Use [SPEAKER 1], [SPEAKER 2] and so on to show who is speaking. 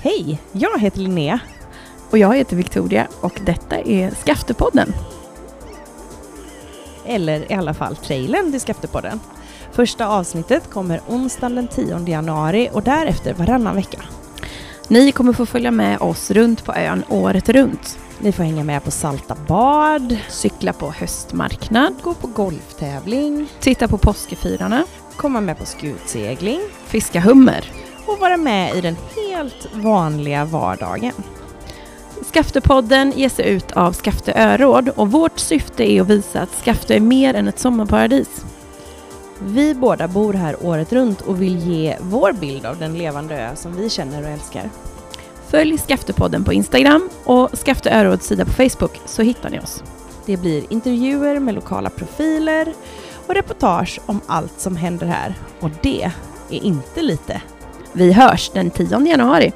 [SPEAKER 1] Hej, jag heter Linnea.
[SPEAKER 2] Och jag heter Victoria och detta är Skaftepodden.
[SPEAKER 1] Eller i alla fall trailern till Skaftepodden. Första avsnittet kommer onsdagen den 10 januari och därefter varannan vecka.
[SPEAKER 2] Ni kommer få följa med oss runt på ön året runt.
[SPEAKER 1] Ni får hänga med på salta bad,
[SPEAKER 2] Cykla på höstmarknad,
[SPEAKER 1] gå på golftävling,
[SPEAKER 2] titta på påskefirarna,
[SPEAKER 1] komma med på skutsegling
[SPEAKER 2] fiska hummer.
[SPEAKER 1] och vara med i den helt vanliga vardagen.
[SPEAKER 2] Skaftepodden ges ut av Skafte öråd och vårt syfte är att visa att Skafte är mer än ett sommarparadis.
[SPEAKER 1] Vi båda bor här året runt och vill ge vår bild av den levande ö som vi känner och älskar.
[SPEAKER 2] Följ Skaftepodden på Instagram och Skafte öråds sida på Facebook så hittar ni oss.
[SPEAKER 1] Det blir intervjuer med lokala profiler och reportage om allt som händer här. Och det är inte lite.
[SPEAKER 2] Vi hörs den 10 januari.